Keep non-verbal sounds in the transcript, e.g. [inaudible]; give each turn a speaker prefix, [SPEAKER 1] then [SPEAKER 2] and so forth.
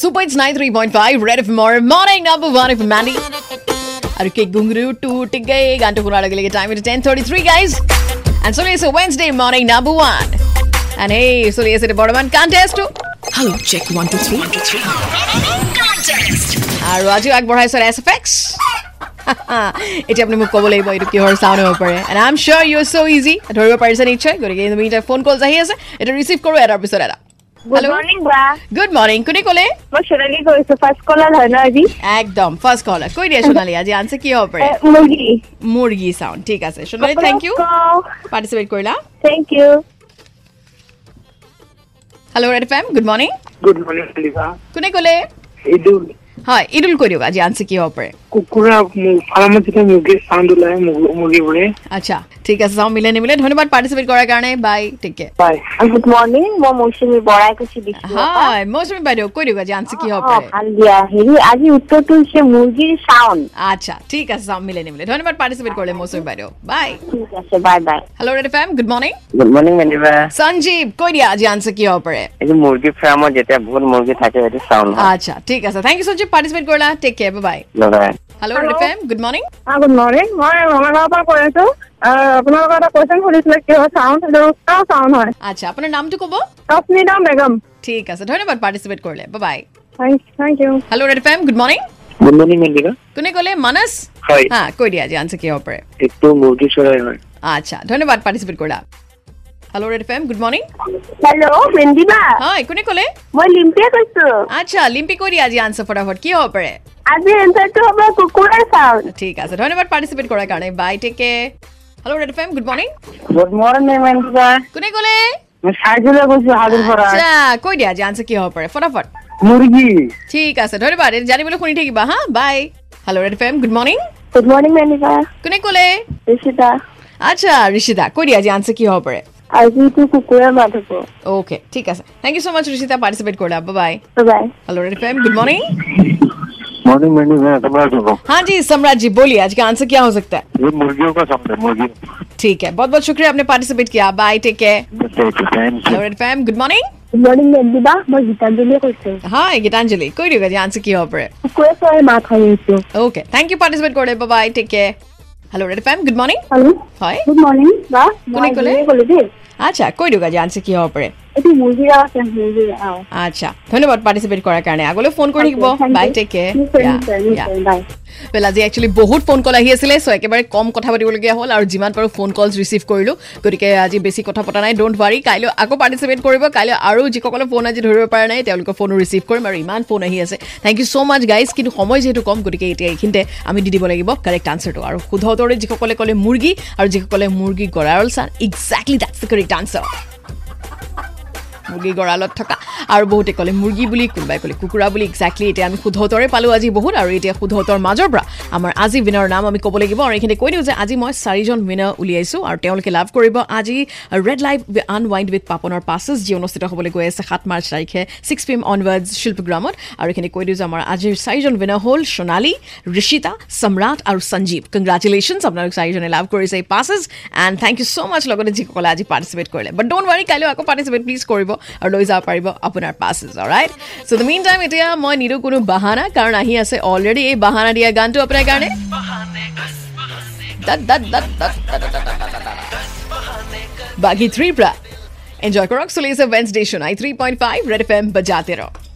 [SPEAKER 1] Super it's nine three point five red F more morning number one F Mandy আর কে গুংরু টুট গয়ে গানটা পুরো আগে লেগে টাইম এটা ten thirty three guys and so is Wednesday morning number one and hey so is এটা বড় মান contest
[SPEAKER 2] Hello, check one, two, three.
[SPEAKER 1] আৰু আজিও আগবঢ়াইছে এছ এফ এক্স [laughs] এতিয়া আপুনি মোক ক'ব লাগিব এইটো কিহৰ চাউণ্ড হ'ব পাৰে and I am sure you so' easy ধৰিব পাৰিছে নিশ্চয় গতিকে তুমি এতিয়া ফোন কল আহি আছে এইটো ৰিচিভ কৰোঁ এটাৰ পিছত এটা
[SPEAKER 3] গুড
[SPEAKER 1] হেল্ল'
[SPEAKER 3] মৰ্ণিং বা
[SPEAKER 1] গুড মৰ্ণিং কোনে ক'লে
[SPEAKER 3] মই সোণালী কৈছো ফাৰ্ষ্ট কলাৰ হয় ন আজি
[SPEAKER 1] একদম ফাৰ্ষ্ট কল কৈ দিয়া সোণালী আজি আনচাৰ কি হ'ব পাৰে
[SPEAKER 3] এ, মুৰ্গী
[SPEAKER 1] মুৰ্গী চাউণ্ড ঠিক আছে সোণালী থেংক ইউ পাৰ্টিচিপেট কৰিলা
[SPEAKER 3] thank you
[SPEAKER 1] hello' Red FM good morning
[SPEAKER 4] good morning লিভা
[SPEAKER 1] কোনে ক'লে
[SPEAKER 4] এইটো
[SPEAKER 1] হয় ইদুল কৈ দিয়ক আজি আনচাৰ কি হ'ব পাৰে
[SPEAKER 4] কুকুৰা ফাৰ্মত যেতিয়া মুৰ্গীৰ চাউণ্ড ওলাই মুৰ্গ- মুৰ্গীবোৰে
[SPEAKER 1] আচ্ছা ঠিক আছে চাওঁ মিলে নিমিলে ধন্যবাদ পাৰ্টিচিপেট কৰাৰ কাৰণে বাই ঠিক আছে
[SPEAKER 4] পায়
[SPEAKER 3] গুড মৰ্ণিং মই মৌচুমী বৰাই কৈছো বিষ্ণু
[SPEAKER 1] হয় মৌচুমী বাইদেউ কৈ দিয়ক আজি আনচাৰ কি হ'ব
[SPEAKER 3] অ,
[SPEAKER 1] পাৰে
[SPEAKER 3] ভাল দিয়া হেৰি আজি উত্তৰটো হৈছে মুৰ্গীৰ চাউণ্ড
[SPEAKER 1] আচ্ছা ঠিক আছে চাম মিলে নিমিলে ধন্যবাদ পাৰ্টিচিপেট কৰিলে মৌচুমী বাইদেউ বাই
[SPEAKER 3] ঠিক আছে bye bye
[SPEAKER 1] hello' Red FM good morning
[SPEAKER 5] good morning মেণ্ডিবা
[SPEAKER 1] সঞ্জীৱ কৈ দিয়া আজি আনচাৰ কি হ'ব পাৰে
[SPEAKER 5] এইটো মুৰ্গী ফাৰ্মত যেতিয়া বহুত মুৰ্গী থাকে সেইটো চাউণ্ড হয়
[SPEAKER 1] আচ্ছা ঠিক আছে থেংক ইউ সঞ্জীৱ পাৰ্টিচিপেট কৰিলা টেক কেয়াৰ বাই
[SPEAKER 5] লগাই
[SPEAKER 1] hello' Red FM good morning
[SPEAKER 3] good morning মই ৰঙাগাঁৱৰ পৰা কৈ আছো আপোনালোকৰ এটা কুৱেশ্যন সুধিছিলে কিয় চাউণ্ড কাৰ চাউণ্ড হয়
[SPEAKER 1] আচ্ছা আপোনাৰ নামটো ক'ব
[SPEAKER 3] তপনীতা মেগম
[SPEAKER 1] ঠিক আছে ধন্যবাদ পাৰ্টিচিপেট কৰিলে bye
[SPEAKER 3] thank you
[SPEAKER 1] hello' Red FM good morning
[SPEAKER 4] good morning মেণ্ডিবা
[SPEAKER 1] কোনে ক'লে মানস
[SPEAKER 4] হয়
[SPEAKER 1] হা কৈ দিয়া আজি আনচাৰ কি হ'ব পাৰে
[SPEAKER 4] এইটো মুৰ্গী চৰাই হয়
[SPEAKER 1] আচ্ছা ধন্যবাদ পাৰ্টিচিপেট কৰিলা hello' Red FM good morning
[SPEAKER 3] hello' মেণ্ডিবা
[SPEAKER 1] হয় কোনে ক'লে
[SPEAKER 3] মই লিম্পিয়ে কৈছো
[SPEAKER 1] আচ্ছা লিম্পি কৈ দিয়া আজি আনচাৰ ফটাফট কি হ'ব পাৰে
[SPEAKER 3] আজি এনচাৰটো হ'ব কুকুৰাৰ চাউণ্ড
[SPEAKER 1] ঠিক আছে ধন্যবাদ পাৰ্টিচিপেট কৰাৰ কাৰণে bye take care hello' Red F M good morning
[SPEAKER 5] good morning মেণ্ডিবা
[SPEAKER 1] কোনে ক'লে
[SPEAKER 5] মই চাইজলৈ গৈছো হাজোৰ
[SPEAKER 1] আচ্ছা কৈ দিয়া আজি আনচাৰ কি হ'ব পাৰে ফটাফট
[SPEAKER 5] মুৰ্গী
[SPEAKER 1] ঠিক আছে ধন্যবাদ এইটো জানিবলৈ শুনি থাকিবা হা bye hello' Red F M good morning
[SPEAKER 3] good morning মেণ্ডিবা
[SPEAKER 1] কোনে ক'লে
[SPEAKER 3] ঋষিতা
[SPEAKER 1] আচ্ছা ঋষিতা কৈ দিয়া আজি আনচাৰ কি হ'ব পাৰে
[SPEAKER 3] আজিতো কুকুৰাৰ মাত হ'ব
[SPEAKER 1] অ'কে ঠিক আছে thank you so' much Rishita participate কৰিলা bye
[SPEAKER 3] bye
[SPEAKER 1] hello' Red F M good morning
[SPEAKER 5] morning মেণ্ডিবা तपाईँ सुनो
[SPEAKER 1] हाँ जी सम्राट जी बोलिए आज का आंसर क्या हो सकता है
[SPEAKER 5] ये मुर्गियों का साउंड है मुर्गी
[SPEAKER 1] ठीक है बहुत बहुत शुक्रिया आपने पार्टिसिपेट किया bye take care
[SPEAKER 5] thank
[SPEAKER 1] hello Red F M good morning
[SPEAKER 3] good morning মেণ্ডিবা মই গীতাঞ্জলীয়ে কৈছো
[SPEAKER 1] হাই গীতাঞ্জলি কৈ দিয়ক আজি আনচাৰ কি হ'ব পাৰে
[SPEAKER 3] কুকুৰে চৰাই মাত হৈ আহিছো
[SPEAKER 1] ওকে থেংক ইউ পাৰ্টিচিপেট কৰিলে bye take care hello' Red F M good morning
[SPEAKER 3] hello'
[SPEAKER 1] হয়
[SPEAKER 3] গুড মৰ্ণিং বা মই
[SPEAKER 1] কোনে ক'লে?
[SPEAKER 3] আজিয়ে ক'লো দেই
[SPEAKER 1] আচ্ছা কৈ দিয়ক আজি আনচাৰ কি হ'ব পাৰে
[SPEAKER 3] এইটো মুৰ্গীৰ আৱাজ আহে, মুৰ্গীৰ আৱাজ।
[SPEAKER 1] আচ্ছা ধন্যবাদ পাৰ্টিচিপেট কৰাৰ কাৰণে আগলৈ ফোন কৰি থাকিব
[SPEAKER 3] Okay, thank
[SPEAKER 1] bye
[SPEAKER 3] you.
[SPEAKER 1] Take care
[SPEAKER 3] নিশ্চয়, নিশ্চয়, নিশ্চয়, bye.
[SPEAKER 1] ৱেল আজি একচুৱেলি বহুত ফোন কল আহি আছিলে চ' একেবাৰে কম কথা পাতিবলগীয়া হ'ল আৰু যিমান পাৰোঁ ফোন কলছ ৰিচিভ কৰিলোঁ গতিকে আজি বেছি কথা পতা নাই ড'ণ্ট ৱাৰি কাইলৈ আকৌ পাৰ্টিচিপেট কৰিব কাইলৈ আৰু যিসকলে ফোন আজি ধৰিব পৰা নাই তেওঁলোকৰ ফোনো ৰিচিভ কৰিম আৰু ইমান ফোন আহি আছে thank you so' much guys কিন্তু সময় যিহেতু কম গতিকে এতিয়া এইখিনিতে আমি দি দিব লাগিব কাৰেক্ট আনচাৰটো আৰু শুদ্ধতৰে যিসকলে ক'লে মুৰ্গী আৰু যিসকলে মুৰ্গী গঁৰাল চান exactly that's the correct answer মুৰ্গী গঁৰালত থকা আৰু বহুতে ক'লে মুৰ্গী বুলি কোনোবাই ক'লে কুকুৰা বুলি এক্সেক্টলি এতিয়া আমি শুদ্ধ উত্তৰে পালোঁ আজি বহুত আৰু এতিয়া শুদ্ধ উত্তৰ মাজৰ পৰা আমাৰ আজি উইনাৰ নাম আমি ক'ব লাগিব আৰু এইখিনি কৈ দিওঁ যে আজি মই চাৰিজন উইনাৰ উলিয়াইছোঁ আৰু তেওঁলোকে লাভ কৰিব আজি ৰেড লাইফ আনৱাইণ্ড উইথ পাপনৰ পাছেছ যি অনুষ্ঠিত হ'বলৈ গৈ আছে সাত মাৰ্চ তাৰিখে ছিক্স পি এম অনৱাৰ্ড শিল্পগ্ৰামত আৰু এইখিনি কৈ দিওঁ যে আমাৰ আজিৰ চাৰিজন উইনাৰ হ'ল সোণালী ঋষিতা সম্ৰাট আৰু সঞ্জীৱ কংগ্ৰেচুলেশ্যনছ আপোনালোক চাৰিজনে লাভ কৰিছে এই passes and thank you so' much লগতে যিসকলে আজি পাৰ্টিচিপেট কৰিলে বাট ড'ণ্ট ৱাৰি কাইলৈ আকৌ পাৰ্টিচিপেট প্লিজ কৰিব আৰু লৈ যাব পাৰিব আপোনাৰ passes right so' the mean time এতিয়া মই নিদিওঁ কোনো বাহানা কাৰণ আহি আছে অলৰেডি এই বাহানা দিয়া গানটো আপোনাৰ কাৰণে বাকী থ্ৰীৰ পৰা এনজয় কৰক চলি আছে ৱেন্সডে' শুনাই three point five Red F M বজাতে ৰক